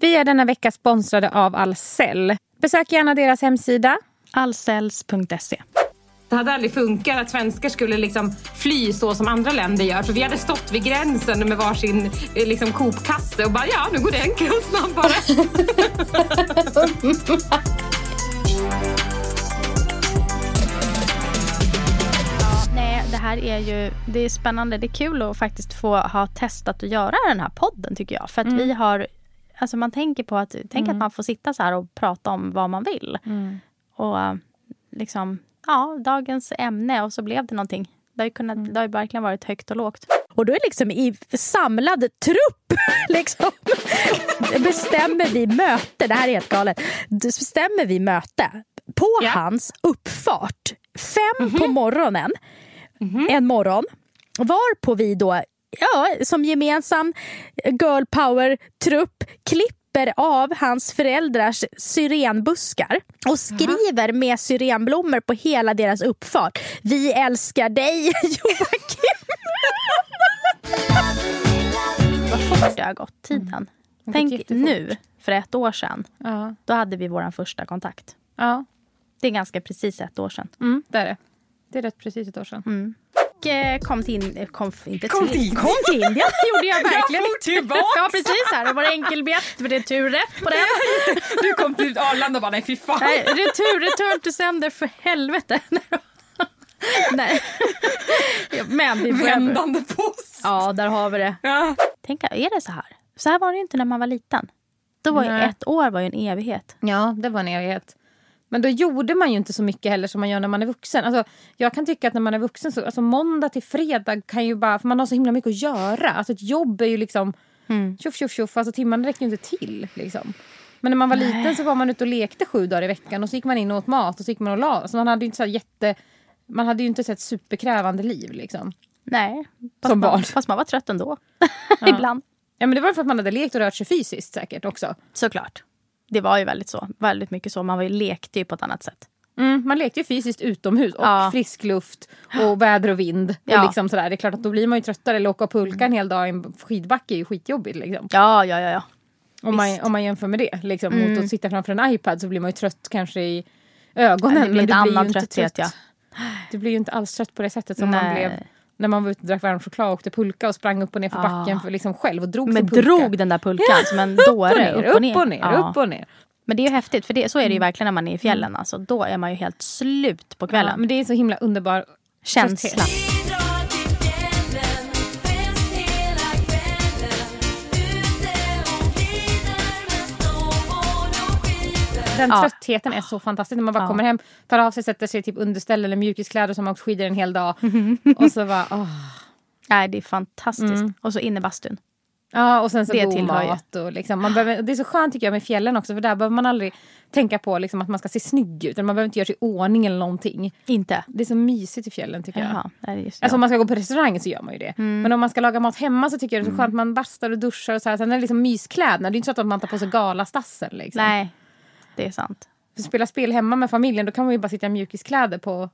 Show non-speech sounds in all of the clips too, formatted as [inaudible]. Vi är denna vecka sponsrade av Ahlsell. Besök gärna deras hemsida. Allcells.se. Det hade aldrig funkat att svenskar skulle liksom fly så som andra länder gör. För vi hade stått vid gränsen med varsin eh, liksom, kopkasse och bara ja, nu går den kön snabbare. Nej, det här är ju det är spännande. Det är kul att faktiskt få ha testat att göra den här podden tycker jag. För att vi har, alltså man tänker på att, tänk att man får sitta så här och prata om vad man vill. Och eh, liksom, ja, dagens ämne och så blev det någonting. Det har ju, kunnat, det har ju verkligen varit högt och lågt. Och då är liksom i samlad trupp [laughs] liksom, bestämmer vi möte. Det här är helt galet. Då Bestämmer vi möte på Ja. hans uppfart. Fem på morgonen. En morgon. Varpå vi då ja, som gemensam girl power-trupp klipper av hans föräldrars syrenbuskar och skriver med syrenblommor på hela deras uppfart. Vi älskar dig, [laughs] Joakim! Vad fort det har gått, tiden. Tänk jättefort. nu, för ett år sedan, [laughs] Ja, då hade vi vår första kontakt. ja. Det är ganska precis ett år sedan. Mm, det är det. Det är rätt precis ett år sedan. Och eh, kom till, in, eh, kom, f- inte Kom till, till- kom till Indien. Det [laughs] gjorde jag verkligen. kom typ tillbaka. Ja, precis. Här. Det var enkelbiljett, för det är tur rätt på den. Du kom till Arlanda och bara nej fy fan. Nej, retur, return to sender, för helvete. [laughs] Nej. Men vi får... Vändande post. Ja, där har vi det. Ja. Tänk, är det så här? Så här var det ju inte när man var liten. Då var ju Nej. ett år var ju en evighet. Ja, det var en evighet. Men då gjorde man ju inte så mycket heller som man gör när man är vuxen. Alltså, jag kan tycka att när man är vuxen, så, alltså, måndag till fredag kan ju bara... För man har så himla mycket att göra. Alltså ett jobb är ju liksom... Tjoff, tjoff, tjoff. Alltså timmarna räcker ju inte till. Liksom. Men när man var liten så var man ute och lekte sju dagar i veckan. Och så gick man in och åt mat och så gick man och la alltså, man hade ju inte så här jätte... Man hade ju inte så här ett superkrävande liv. Liksom. Nej. Fast Som man, barn. Fast man var trött ändå. [laughs] Ibland. Ja, men det var för att man hade lekt och rört sig fysiskt säkert också. Såklart. Det var ju väldigt så. Väldigt mycket så. Man var ju, lekte ju på ett annat sätt. Mm, man lekte ju fysiskt utomhus och Ja. frisk luft och väder och vind. Ja. Och liksom sådär. Det är klart att då blir man ju tröttare. Eller åka och pulka en hel dag i en skidbacke är ju skitjobbigt. Liksom. Ja, ja, ja. ja. Om, man, om man jämför med det. Liksom, Mot att sitta framför en iPad så blir man ju trött kanske i ögonen. Ja, Mm. det men du blir blir en annan ju inte trötthet, trött. Du blir ju inte alls trött på det sättet som man Nej. blev när man var ute och drack varm choklad och åkte pulka och sprang upp och ner för Ja. backen för, liksom, själv och drog Men sin pulka. drog den där pulkan som en dåre upp och ner, upp och ner. Ja. Upp och ner. Men det är ju häftigt, för det, så är det ju verkligen när man är i fjällen. Alltså, då är man ju helt slut på kvällen. Ja, men det är så himla underbar Känsla. trötthet. Den Ja. tröttheten är så fantastisk. När man bara kommer hem, tar av sig, sätter sig i typ underställ eller mjukiskläder som har åkt skidor en hel dag. [laughs] och så bara, åh. Nej, det är fantastiskt. Mm. Och så innebastun. Ja, och sen så Det god tillhör ju. mat. Och liksom, man behöver, det är så skönt tycker jag med fjällen också för där behöver man aldrig tänka på liksom, att man ska se snygg ut. Eller man behöver inte göra sig i ordning eller någonting. Inte? Det är så mysigt i fjällen tycker jag. Jaha, Mm. nej, just det. Alltså om man ska gå på restaurang så gör man ju det. Men om man ska laga mat hemma så tycker jag det är Mm. så skönt. Man bastar och duschar och så här. Sen är det liksom myskläderna. Det är inte så att man tar på sig galastassen liksom. nej, det är sant. För spela spel hemma med familjen då kan man ju bara sitta i mjukiskläder på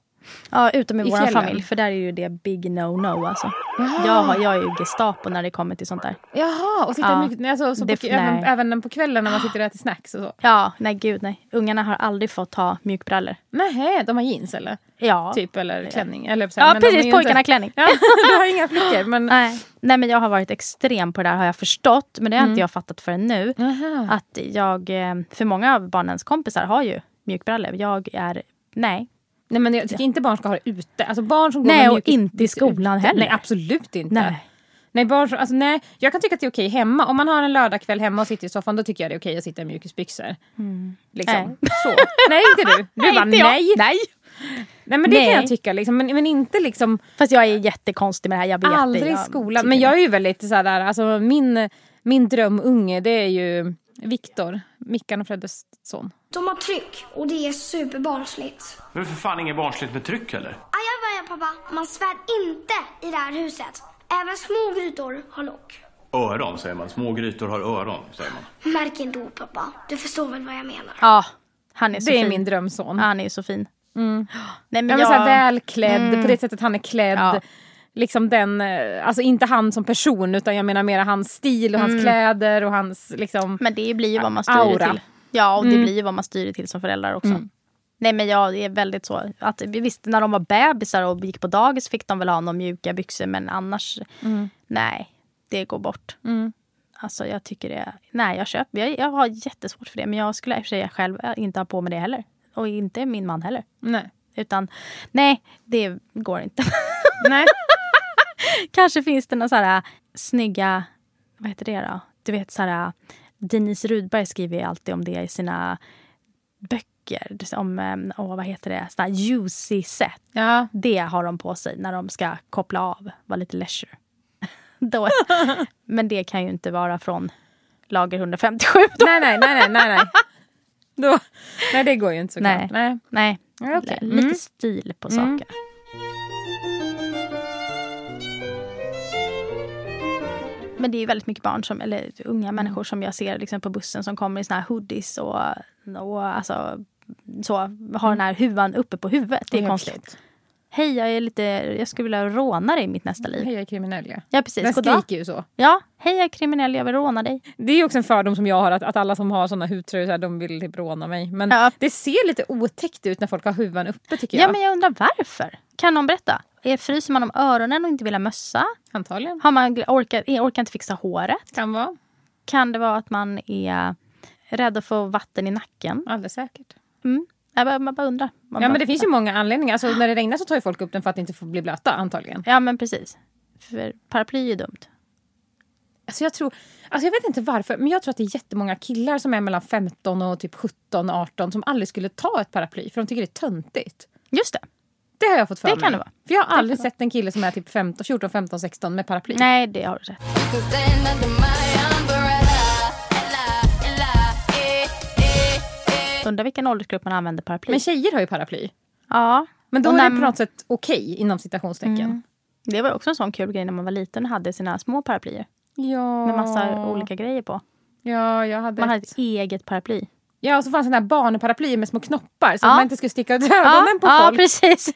Ja, utom i, I vår fjällen. familj, för där är ju det big no-no. Alltså. Jag, har, jag är ju Gestapo när det kommer till sånt där. Jaha, och sitta Ja. mycket, nej, alltså, så Det- på, även, nej. Ah. även på kvällen när man sitter och äter snacks och så? Ja, nej gud nej. Ungarna har aldrig fått ha mjukbrallor. Nej, de har jeans eller? Ja, Typ, eller klänning. Eller, så här, ja men de är ju precis. inte- Pojkarna har klänning. Ah. Ja, [laughs] du har inga flickor men... Nej. nej, men jag har varit extrem på det där har jag förstått. Men det har inte jag fattat förrän nu. Mm. Aha. Att jag, eh, för många av barnens kompisar har ju mjukbrallor. Jag är, nej. Nej men jag tycker inte barn ska ha det ute. Alltså barn som går Nej, med och mjukis- inte i skolan ute. heller. Nej absolut inte. Nej. Nej, barn, som- alltså, nej, jag kan tycka att det är okej hemma. Om man har en lördagkväll hemma och sitter i soffan då tycker jag det är okej att sitta i mjukisbyxor. Liksom. Så. Nej inte du. Du bara inte jag. nej. Mm. [laughs] nej. Nej men det Nej. kan jag tycka liksom. Men, men inte liksom Fast jag är jättekonstig med det här, jag vet det. Aldrig i jag skolan. tycker Men jag det. är ju väldigt så där, alltså min, min drömunge det är ju Viktor, Mickan och Freddes son. De har tryck och det är superbarnsligt. Nu är för fan inget barnsligt med tryck heller. Aj, aj, aj, pappa. Man svär inte i det här huset. Även små grytor har lock. Öron säger man. Små grytor har öron säger man. Märk inte ord, pappa. Du förstår väl vad jag menar? Ja, han är så Det är fin. min drömson. Han är ju så fin. Nej, men Ja, men jag... så här, välklädd, på det sättet han är klädd. Mm. Ja. liksom den, eh, alltså inte han som person utan jag menar mera hans stil och Mm. hans kläder och hans liksom. Men det blir ju vad man styr det Aura. Mm. till. Ja, och det blir ju vad man styr det till som föräldrar också. Nej men jag är väldigt så. Att, visst, när de var bebisar och gick på dagis fick de väl ha några mjuka byxor men annars, Mm. nej, det går bort. Alltså jag tycker det, nej jag köper, jag, jag har jättesvårt för det men jag skulle i och för sig själv inte ha på mig det heller. Och inte min man heller. Nej. Utan nej, det går inte. Nej. [laughs] Kanske finns det några så här snygga, vad heter det då? Du vet så här, Denise Rudberg skriver ju alltid om det i sina böcker. Det- Om, eh, åh, vad heter det, sådana här juicy set. Ja. Det har de på sig när de ska koppla av, vara lite leisure. [laughs] Då, men det kan ju inte vara från lager 157. Då. Nej, nej, nej, nej, nej, nej. Då, nej, det går ju inte såklart. Nej. Nej. Nej. Nej, Ja, okej. lite stil på saker. Men det är ju väldigt mycket barn, som, eller unga människor som jag ser liksom på bussen som kommer i såna här hoodies och, och alltså, så, har den här huvan uppe på huvudet. Det är Ja, konstigt. precis. Hej, jag, är lite, jag skulle vilja råna dig i mitt nästa liv. Hej, jag är kriminell ja. Ja, precis. Den God dag. skriker ju så. Ja, hej jag är kriminell, jag vill råna dig. Det är också en fördom som jag har att, att alla som har såna hudtröjor så här, de vill typ råna mig. Men Ja. det ser lite otäckt ut när folk har huvan uppe tycker Ja. jag. men jag undrar varför? Kan någon berätta? Är- Fryser man om öronen och inte vill ha mössa? Antagligen. Har man gl- orkar, eh, orkar inte fixa håret? Kan vara. Kan det vara att man är rädd att få vatten i nacken? Alldeles säkert. Mm. Jag bara, man bara undrar. Man Ja bara- men det finns ju många anledningar. Alltså, när det regnar så tar ju folk upp den för att inte få bli blöta antagligen. ja, men precis. För paraply är dumt. Alltså, jag, tror, alltså, jag vet inte varför men jag tror att det är jättemånga killar som är mellan 15 och typ 17 och 18 som aldrig skulle ta ett paraply för de tycker det är töntigt. Just det. Det har jag fått för Det mig. kan det vara. För jag har aldrig sett en kille som är typ 15, 14, 15, 16 med paraply. Nej, det har du rätt. Stand under my umbrella. Ella, ella, eh, eh, eh. Undrar vilken åldersgrupp man använder paraply. Men tjejer har ju paraply. ja. Men då Och är när- Mm. det på något sätt okej inom citationstecken. Det var också en sån kul grej när man var liten och hade sina små paraplyer. Ja. Med massa olika grejer på. Ja, jag hade... Man hade ett eget paraply. Ja, och så fanns det där barnparaply med små knoppar så Ja. att man inte skulle sticka ut ögonen på ja folk. precis.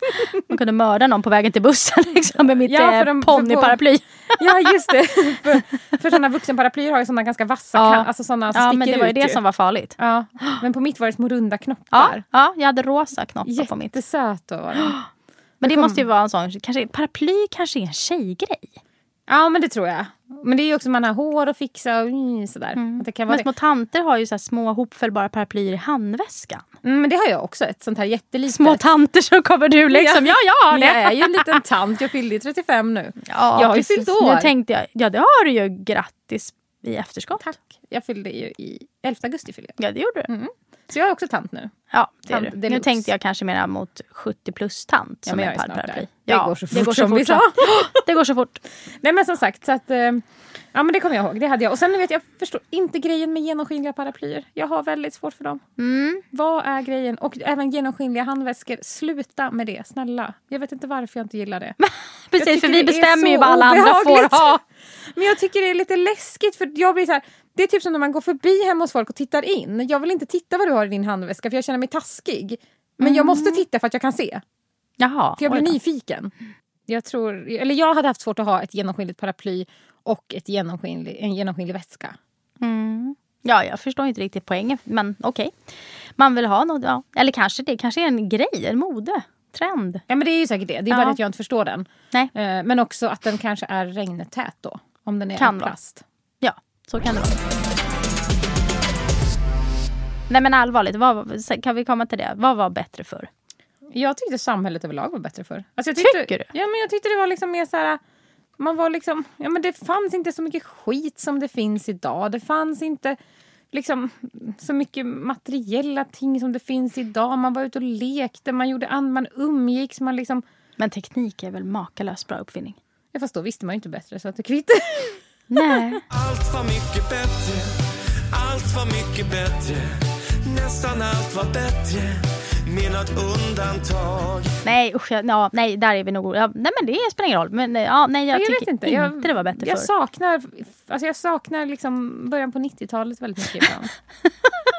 Man kunde mörda någon på vägen till bussen [laughs] liksom, med mitt Ja, för eh, de- för på- ponnyparaply. Ja, just det. [laughs] för, för sådana vuxenparaplyer har ju sådana ganska vassa, Ja. kan- alltså sådana som Ja, sticker men det var ju ut det som var farligt. Ja, men på mitt var det små runda knoppar. Ja, ja, jag hade rosa knoppar på mitt. Jättesöt då var den. Men det måste ju vara en sån, kanske, paraply kanske är en tjejgrej. Ja, men det tror jag. Men det är ju också man har hår att fixa och mm, sådär. Att det kan vara Men små tanter har ju så här små hopfällbara paraplyer i handväskan. det. Mm, men det har jag också, ett sånt här jättelitet. Små tanter så kommer du liksom, ja jag har men jag är det. ju en liten tant, jag fyllde ju 35 nu. [laughs] Ja, jag har ju precis. fyllt år. Nu tänkte jag, ja det har du ju, grattis i efterskott. Tack. Jag fyllde ju i 11 augusti. Fyllde jag. Ja det gjorde du. Så jag är också tant nu. Mm. Ja, det är Tant du. Nu deluxe. tänkte jag kanske mera mot 70 plus tant som men jag är är snart paraply. där. Det går så fort som vi som- sa. [gasps] Det går så fort. [laughs] Nej men som sagt, så att, eh, ja men det kommer jag ihåg. Det hade jag. Och sen vet jag, jag förstår inte grejen med genomskinliga paraplyer. Jag har väldigt svårt för dem. Mm. Vad är grejen? Och även genomskinliga handväskor. Sluta med det, snälla. Jag vet inte varför jag inte gillar det. Jag Precis, tycker för det vi är bestämmer ju så vad alla andra obehagligt. får ha. Men jag tycker det är lite läskigt för jag blir så här, det är typ som när man går förbi hemma hos folk och tittar in. Jag vill inte titta vad du har i din handväska för jag känner mig taskig. Men jag måste titta för att jag kan se. Jaha. För jag blir Mm. oj då. nyfiken. Jag tror, eller jag hade haft svårt att ha ett genomskinligt paraply och ett genomskinlig, en genomskinlig väska. Ja, jag förstår inte riktigt poängen, men okej. Man vill ha något, ja. Eller kanske det kanske är en grej, en mode, trend. Ja men det är ju säkert det. Det är Ja. bara att jag inte förstår den. Nej. Eh, Men också att den kanske är regntät då. Om den är Kan av vara. plast. Ja, så kan det vara. Nej men allvarligt, vad, kan vi komma till det? Vad var bättre förr? Jag tyckte samhället överlag var bättre förr. Alltså jag Tycker du? Ja men jag tyckte det var liksom mer så här. Man var liksom, ja men det fanns inte så mycket skit som det finns idag. Det fanns inte liksom så mycket materiella ting som det finns idag. Man var ute och lekte, man gjorde an, man umgicks, man liksom Men teknik är väl makalöst bra uppfinning? Ja, fast då visste man ju inte bättre så att det kvittar. Nej. Allt var mycket bättre, allt var mycket bättre Nästan allt var bättre, med något undantag Nej, usch, jag, ja, nej, där är vi nog... Ja, nej, men det spelar ingen roll. Men, nej, ja, nej, jag, Jag, tycker vet inte. Jag, det var bättre jag förr. Saknar, alltså jag saknar liksom början på 90-talet väldigt mycket [laughs] ibland. Mm.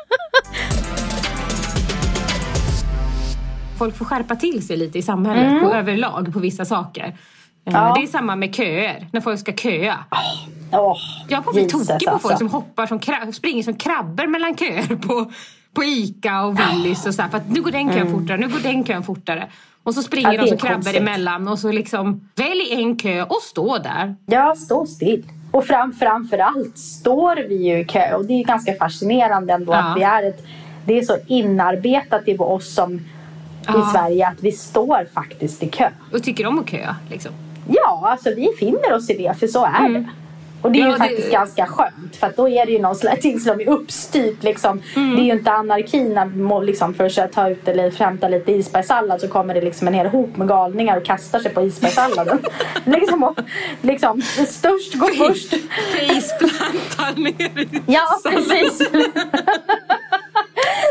Folk får skärpa till sig lite i samhället på, överlag på vissa saker. Eh, Det är samma med köer, när folk ska köa. Åh, Jag har blivit Jesus, tokig på folk alltså. som hoppar som kra- springer som krabbor mellan köer på, på Ica och Willys och så här, för att nu går den kön fortare, nu går den kön fortare. Och så springer Mm. Ja, de det som är krabbor konstigt. emellan och så liksom välj en kö och stå där. Ja, stå still. Och fram, framför allt står vi ju i kö och det är ju ganska fascinerande ändå Ja. att vi är ett, det är så inarbetat i oss som i Sverige att vi står faktiskt i kö. Och tycker om att köa liksom. Ja, alltså vi finner oss i det för så är det. Och det är Ja, ju det- faktiskt ganska skönt för att då är det ju någon [laughs] slags som är uppstyrt liksom. Det är ju inte anarki när må- liksom, för att ta ut eller hämta lite isbergssallad så kommer det liksom en hel hop med galningar och kastar sig på isbergssalladen. liksom, och, liksom störst går först. Faceplantar ner i Ja, precis. [laughs]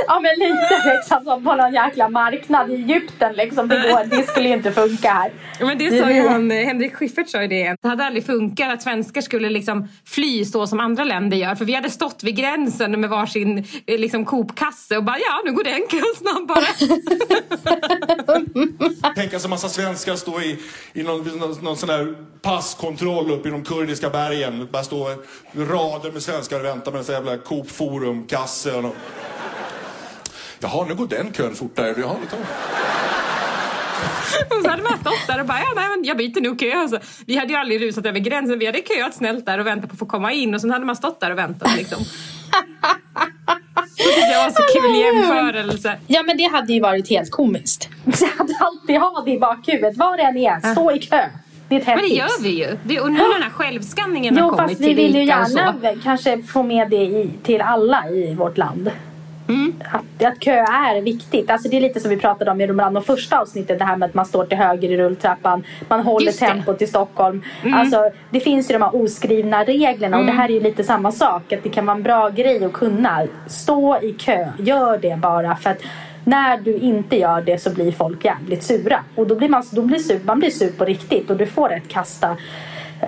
ja, men lite liksom som på någon jäkla marknad i Egypten. Liksom. Det, går, det skulle ju inte funka här. Ja, Men det sa ju han, eh, Henrik Schyffert sa ju det. Det hade aldrig funkat att svenskar skulle liksom fly så som andra länder gör. För vi hade stått vid gränsen med varsin eh, liksom, Coop-kasse och bara ja, nu går den kön snabbare. [laughs] Tänk alltså massa svenskar stå i, i någon, någon, någon sån där passkontroll uppe i de kurdiska bergen. Bara stå rader med svenskar och vänta med en sån jävla Coop Forum-kasse. Och någon- Jaha, nu går den kön fortare. Jaha, det tar... och så hade man stått där och bara ja, nej, men jag byter nog kö. Så vi hade ju aldrig rusat över gränsen. Vi hade köat snällt där och väntat på att få komma in och sen hade man stått där och väntat liksom. Det tyckte jag var så kul jämförelse. Ja, men det hade ju varit helt [laughs] komiskt. Så att alltid ha det i bakhuvudet. Var den är, stå i kö. Det är ett Men hett det tips. gör vi ju. Det, och nu när den här självskanningen har Jo, kommit fast vi till vill ju Ica och så. gärna väl kanske få med det i, till alla i vårt land. Att, att kö är viktigt. Alltså det är lite som vi pratade om i de andra första avsnittet. Det här med att man står till höger i rulltrappan. Man håller Just det. Mm. tempot i Stockholm. Alltså, det finns ju de här oskrivna reglerna. Och det här är ju lite samma sak. Att det kan vara en bra grej att kunna. Stå i kö. Gör det bara. För att när du inte gör det så blir folk jävligt sura. Och då blir man, då blir sur, man blir sur på riktigt. Och du får ett kasta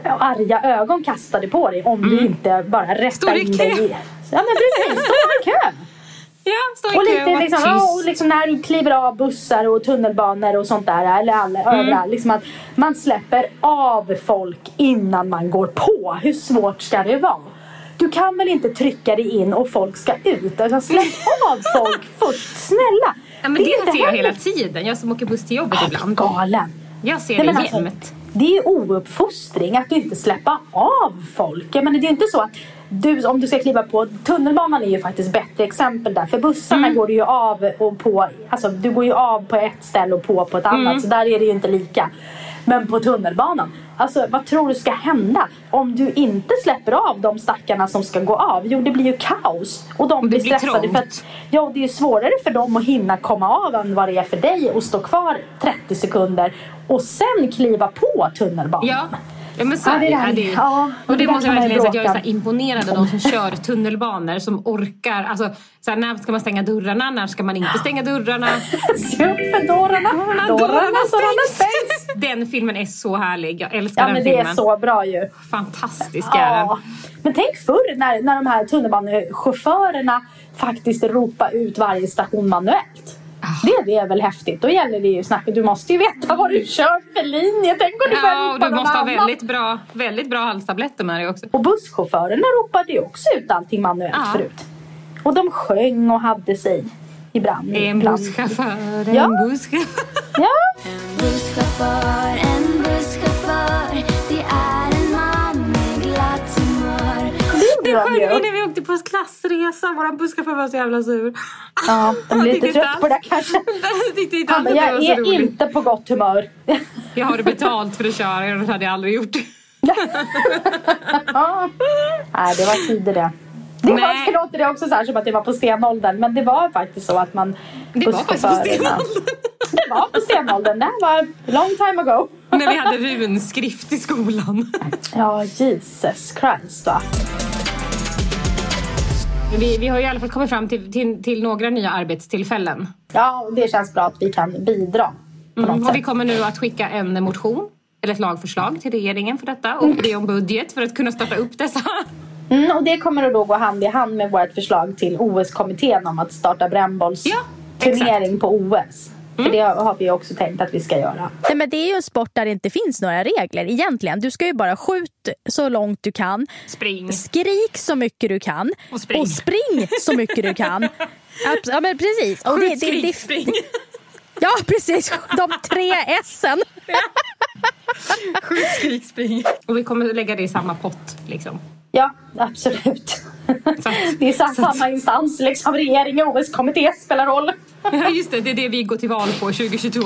eh, arga ögon kastade på dig om du inte bara Mm. Står rättar i in kö. dig i... Ja men precis, stå i kö! Ja, stå i Och kö och lite vara liksom, tyst. ja, och liksom när du kliver av bussar och tunnelbanor och sånt där eller alla, Mm. överallt. Liksom att man släpper av folk innan man går på. Hur svårt ska det vara? Du kan väl inte trycka dig in och folk ska ut? Utan släpp av [laughs] folk först, snälla! Ja, men det är inte ser jag hela heller- tiden. Jag som åker buss till jobbet ibland. Galen! Jag ser Nej, men det alltså, jämt. det är ouppfostring att inte släppa av folk. Men det är ju inte så att du, om du ska kliva på tunnelbanan är ju faktiskt bättre exempel där. För bussarna Mm. går du ju av och på. Alltså du går ju av på ett ställe och på på ett annat. Mm. Så där är det ju inte lika. Men på tunnelbanan. Alltså vad tror du ska hända om du inte släpper av de stackarna som ska gå av? Jo det blir ju kaos. Och de det blir blir stressade för trångt. att Ja, och det är ju svårare för dem att hinna komma av än vad det är för dig att stå kvar 30 sekunder och sen kliva på tunnelbanan. Ja. Ja, men så Ja, är det det. där- Ja, det, ja, men och det det där måste jag kan man ju verkligen säga att jag är så bråka här imponerad av de som kör tunnelbanor som orkar. Alltså, så här, när ska man stänga dörrarna? När ska man inte stänga dörrarna? [laughs] Se upp för dörrarna! Dörrarna, dörrarna stängs! Den filmen är så härlig. Jag älskar Ja, den men det filmen. är så bra ju. Fantastisk är den. Ja. Men tänk förr när, när de här tunnelbanechaufförerna faktiskt ropar ut varje station manuellt. Ah. Det, det är väl häftigt. Då gäller det ju snacket. Du måste ju veta vad du kör för linje. Tänk om du börjar Ja, och ropa du någon måste ha annan. väldigt bra, väldigt bra halstabletter med dig också. Och busschaufförerna ropade ju också ut allting manuellt Ja. förut. Och de sjöng och hade sig ibland. En ibland. busschaufför, en Ja. busschaufför. Ja, Busschaufför, en busschaufför Det är en man med glatt humör det Det gjorde sjöng de vi ju. när vi åkte på klassresa. Vår busschaufför var så jävla sur. Ja, de blev Jag lite tyckte trött inte på det alls- [laughs] kanske. Jag tyckte inte Han alls bara, att det var jag så är roligt. inte på [laughs] gott humör. Jag har betalt för att köra, annars hade jag aldrig gjort det. Ja. Nej, det var tider det. Det Nej. var, det låter det också så här, som att det var på stenåldern. Men det var faktiskt så att man... Det var faktiskt på busschaufförerna- stenåldern. Det var på stenåldern. Det var long time ago. När vi hade runskrift i skolan. Ja, Jesus Christ va. Vi, vi har ju i alla fall kommit fram till, till, till några nya arbetstillfällen. Ja, och det känns bra att vi kan bidra. På något Mm, sätt. och vi kommer nu att skicka en motion, eller ett lagförslag till regeringen för detta och be om budget för att kunna starta upp dessa. Mm, och det kommer att då gå hand i hand med vårt förslag till OS-kommittén om att starta brännbollsturnering Ja, exakt. Mm. på OS. För det har vi också tänkt att vi ska göra. Nej, men det är ju en sport där det inte finns några regler egentligen. Du ska ju bara skjut så långt du kan. Spring. Skrik så mycket du kan. Och spring. Och spring så mycket [laughs] du kan. Abs- ja, men precis. Och Skjut, skrik, spring. Ja, precis. De tre S'en. Skjut, skrik, spring. Och vi kommer att lägga det i samma pott. Liksom. Ja, absolut. [laughs] Det är sa- samma instans, liksom. regering och OS-kommitté spelar roll. Ja, just det, det är det vi går till val på 2022.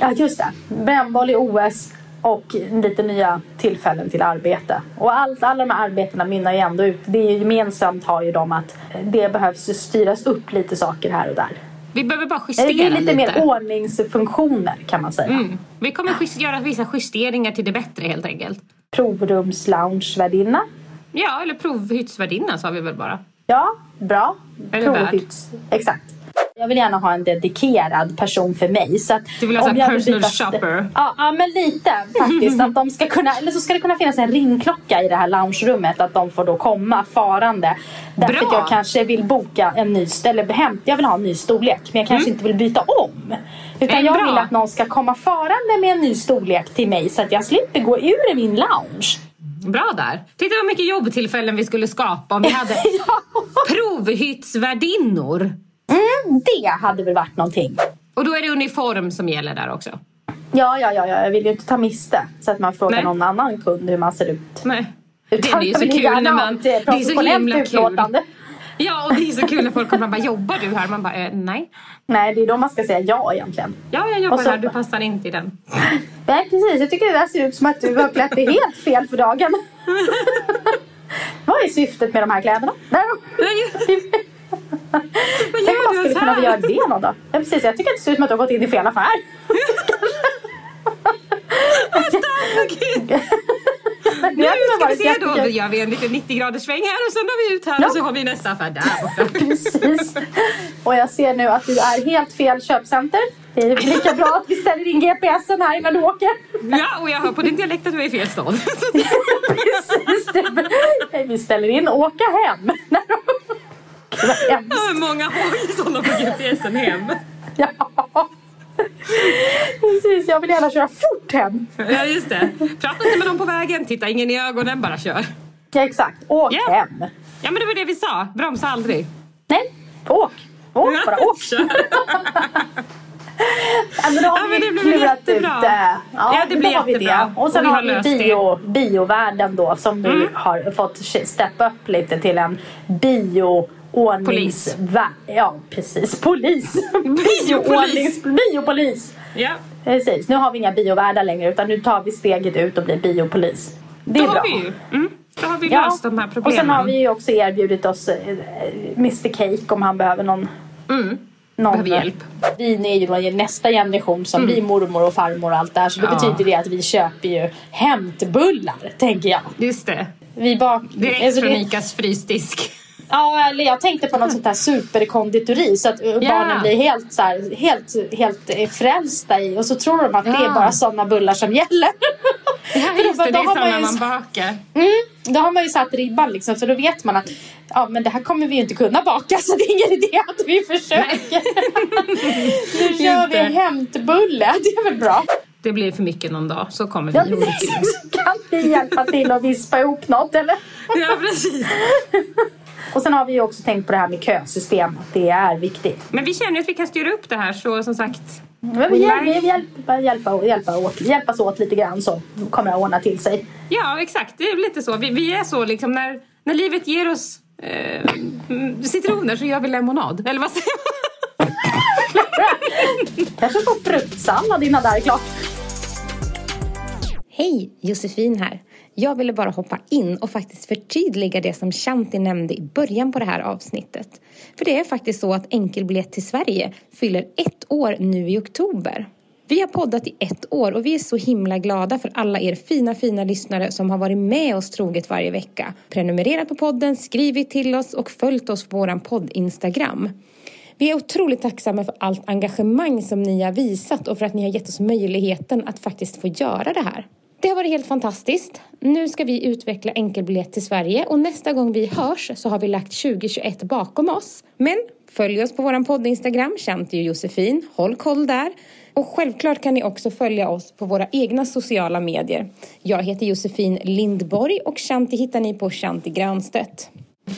Ja, just det. Brännboll i OS och lite nya tillfällen till arbete. Och allt, alla de här arbetena mynnar ju ändå ut. Det är ju gemensamt har ju de att det behövs styras upp lite saker här och där. Vi behöver bara justera Det är lite, lite. mer ordningsfunktioner kan man säga. Mm. Vi kommer just göra vissa justeringar till det bättre helt enkelt. Provrumsloungevärdinna. Ja, eller provhyttsvärdinna sa vi väl bara. Ja, bra. Eller värd. Provhytts. Exakt. Jag vill gärna ha en dedikerad person för mig. Så att Du vill ha om så här jag personal byta- shopper. Ja, ja, men lite faktiskt. att de ska kunna, eller så ska det kunna finnas en ringklocka i det här loungerummet. Att de får då komma farande. Därför Bra. att jag kanske vill boka en ny, eller hem, jag vill ha en ny storlek. Men jag kanske inte vill byta om. Utan Eh, jag Mm. bra. vill att någon ska komma farande med en ny storlek till mig. Så att jag slipper gå ur min lounge. [laughs] Bra där! Titta vad mycket jobbtillfällen vi skulle skapa om vi [laughs] hade provhyttsvärdinnor. Mm, det hade väl varit någonting. Och då är det uniform som gäller där också. Ja, ja, ja, ja, jag vill ju inte ta miste så att man frågar Nej. någon annan kund hur man ser ut. Nej. Det Utan är ju så det blir kul gärna när man... allt, Det eh, är så professionellt himla kul. utlåtande. Ja, och det är så kul när folk kommer och bara “jobbar du här?” Man bara eh, “nej”. Nej, det är då man ska säga ja egentligen. Ja, jag jobbar Och så- här, du passar inte i den. Nej, precis. Jag tycker det där ser ut som att du har klätt dig helt fel [laughs] för dagen. Vad är syftet med de här kläderna? Nej, [laughs] Vad Tänk om gör man du skulle så kunna här? göra det någon dag. Ja, precis. Jag tycker att det ser ut som att du har gått in i fel affär. Men Nu det hade väl ska vi varit se, då jättekul. gör vi en liten 90-graderssväng här och sen drar vi ut här Ja. och så har vi nästa affär där borta. [laughs] Precis. Och jag ser nu att du är helt fel köpcenter. Det är lika bra att vi ställer in GPSen här innan du åker. [laughs] Ja, och jag hör på din dialekt att du är i fel stad. Precis. Det- Vi ställer in åka hem. När de... Gud, vad hemskt. Ja, men Många har ju sådana på GPSen hem. Ja. Precis, jag vill gärna köra fort hem. Ja, just det. Prata inte med dem på vägen, titta ingen i ögonen, bara kör. Ja, exakt. Åk Ja. hem. Ja, men det var det vi sa. Bromsa aldrig. Nej, åk. Åk bara, åk. Kör. Ja, men då har Ja, vi men det blir klurat ut jättebra. det. Ja, Ja, det då blir har vi jättebra. det. Och sen Och vi har har löst Mm. vi bio, biovärlden då som nu har fått steppa upp lite till en bio Polis. Ja, [laughs] precis. Polis. Bioordnings- Biopolis. Ja, Precis. Nu har vi inga biovärdar längre utan nu tar vi steget ut och blir biopolis. Det då är bra. har vi ju mm, då har vi Ja. löst de här problemen. Och sen har vi ju också erbjudit oss eh, Mr Cake om han behöver någon mm. någon Behöver hjälp. Mm. Vi är ju då nästa generation som vi mormor och farmor och allt det här. Så det Ja. betyder det att vi köper ju hämtbullar, tänker jag. Just det. Vi bak... Direkt alltså det- från Icas frysdisk. Ja, eller jag tänkte på något sånt här superkonditori så att eh, Ja. barnen blir helt, så här, helt, helt eh, frälsta i och så tror de att det Ja. är bara sådana bullar som gäller. Ja, [laughs] För då- just det, då det är har man sådana ju- man bakar. Mm, då har man ju satt ribban liksom för då vet man att ja, men det här kommer vi ju inte kunna baka [laughs] så det är ingen idé att vi försöker. nu gör vi en det. hämtbulle, [laughs] det är väl bra. Det blir för mycket någon dag, så kommer vi Ja, ihåg det. precis. kan vi hjälpa till att vispa ihop något eller? Ja, precis. Och sen har vi ju också tänkt på det här med kösystem, att det är viktigt. Men vi känner att vi kan styra upp det här, så som sagt... Men vi hjälper, vi hjälper, hjälpa, hjälpa åt, hjälpas åt lite grann så kommer det att ordna till sig. Ja, exakt. Det är lite så. Vi, vi är så liksom när, när livet ger oss eh, mm, citroner så gör vi lemonad. Eller vad säger man? Kanske få fruktsallad innan det här är klart. Hej, Josefin här. Jag ville bara hoppa in och faktiskt förtydliga det som Shanti nämnde i början på det här avsnittet. För det är faktiskt så att Enkelbiljett till Sverige fyller ett år nu i oktober. Vi har poddat i ett år och vi är så himla glada för alla er fina, fina lyssnare som har varit med oss troget varje vecka. Prenumererat på podden, skrivit till oss och följt oss på vår podd Instagram. Vi är otroligt tacksamma för allt engagemang som ni har visat och för att ni har gett oss möjligheten att faktiskt få göra det här. Det har varit helt fantastiskt. Nu ska vi utveckla enkelbiljett till Sverige och nästa gång vi hörs så har vi lagt 2021 bakom oss. Men Följ oss på vår podd Instagram, Shanti och Josefin. Håll koll där. Och självklart kan ni också följa oss på våra egna sociala medier. Jag heter Josefin Lindborg och Shanti hittar ni på Shanti Granstedt.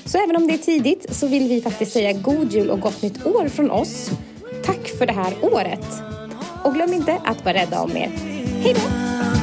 Så även om det är tidigt så vill vi faktiskt säga god jul och gott nytt år från oss. Tack för det här året! Och glöm inte att vara rädda om er. Hej då!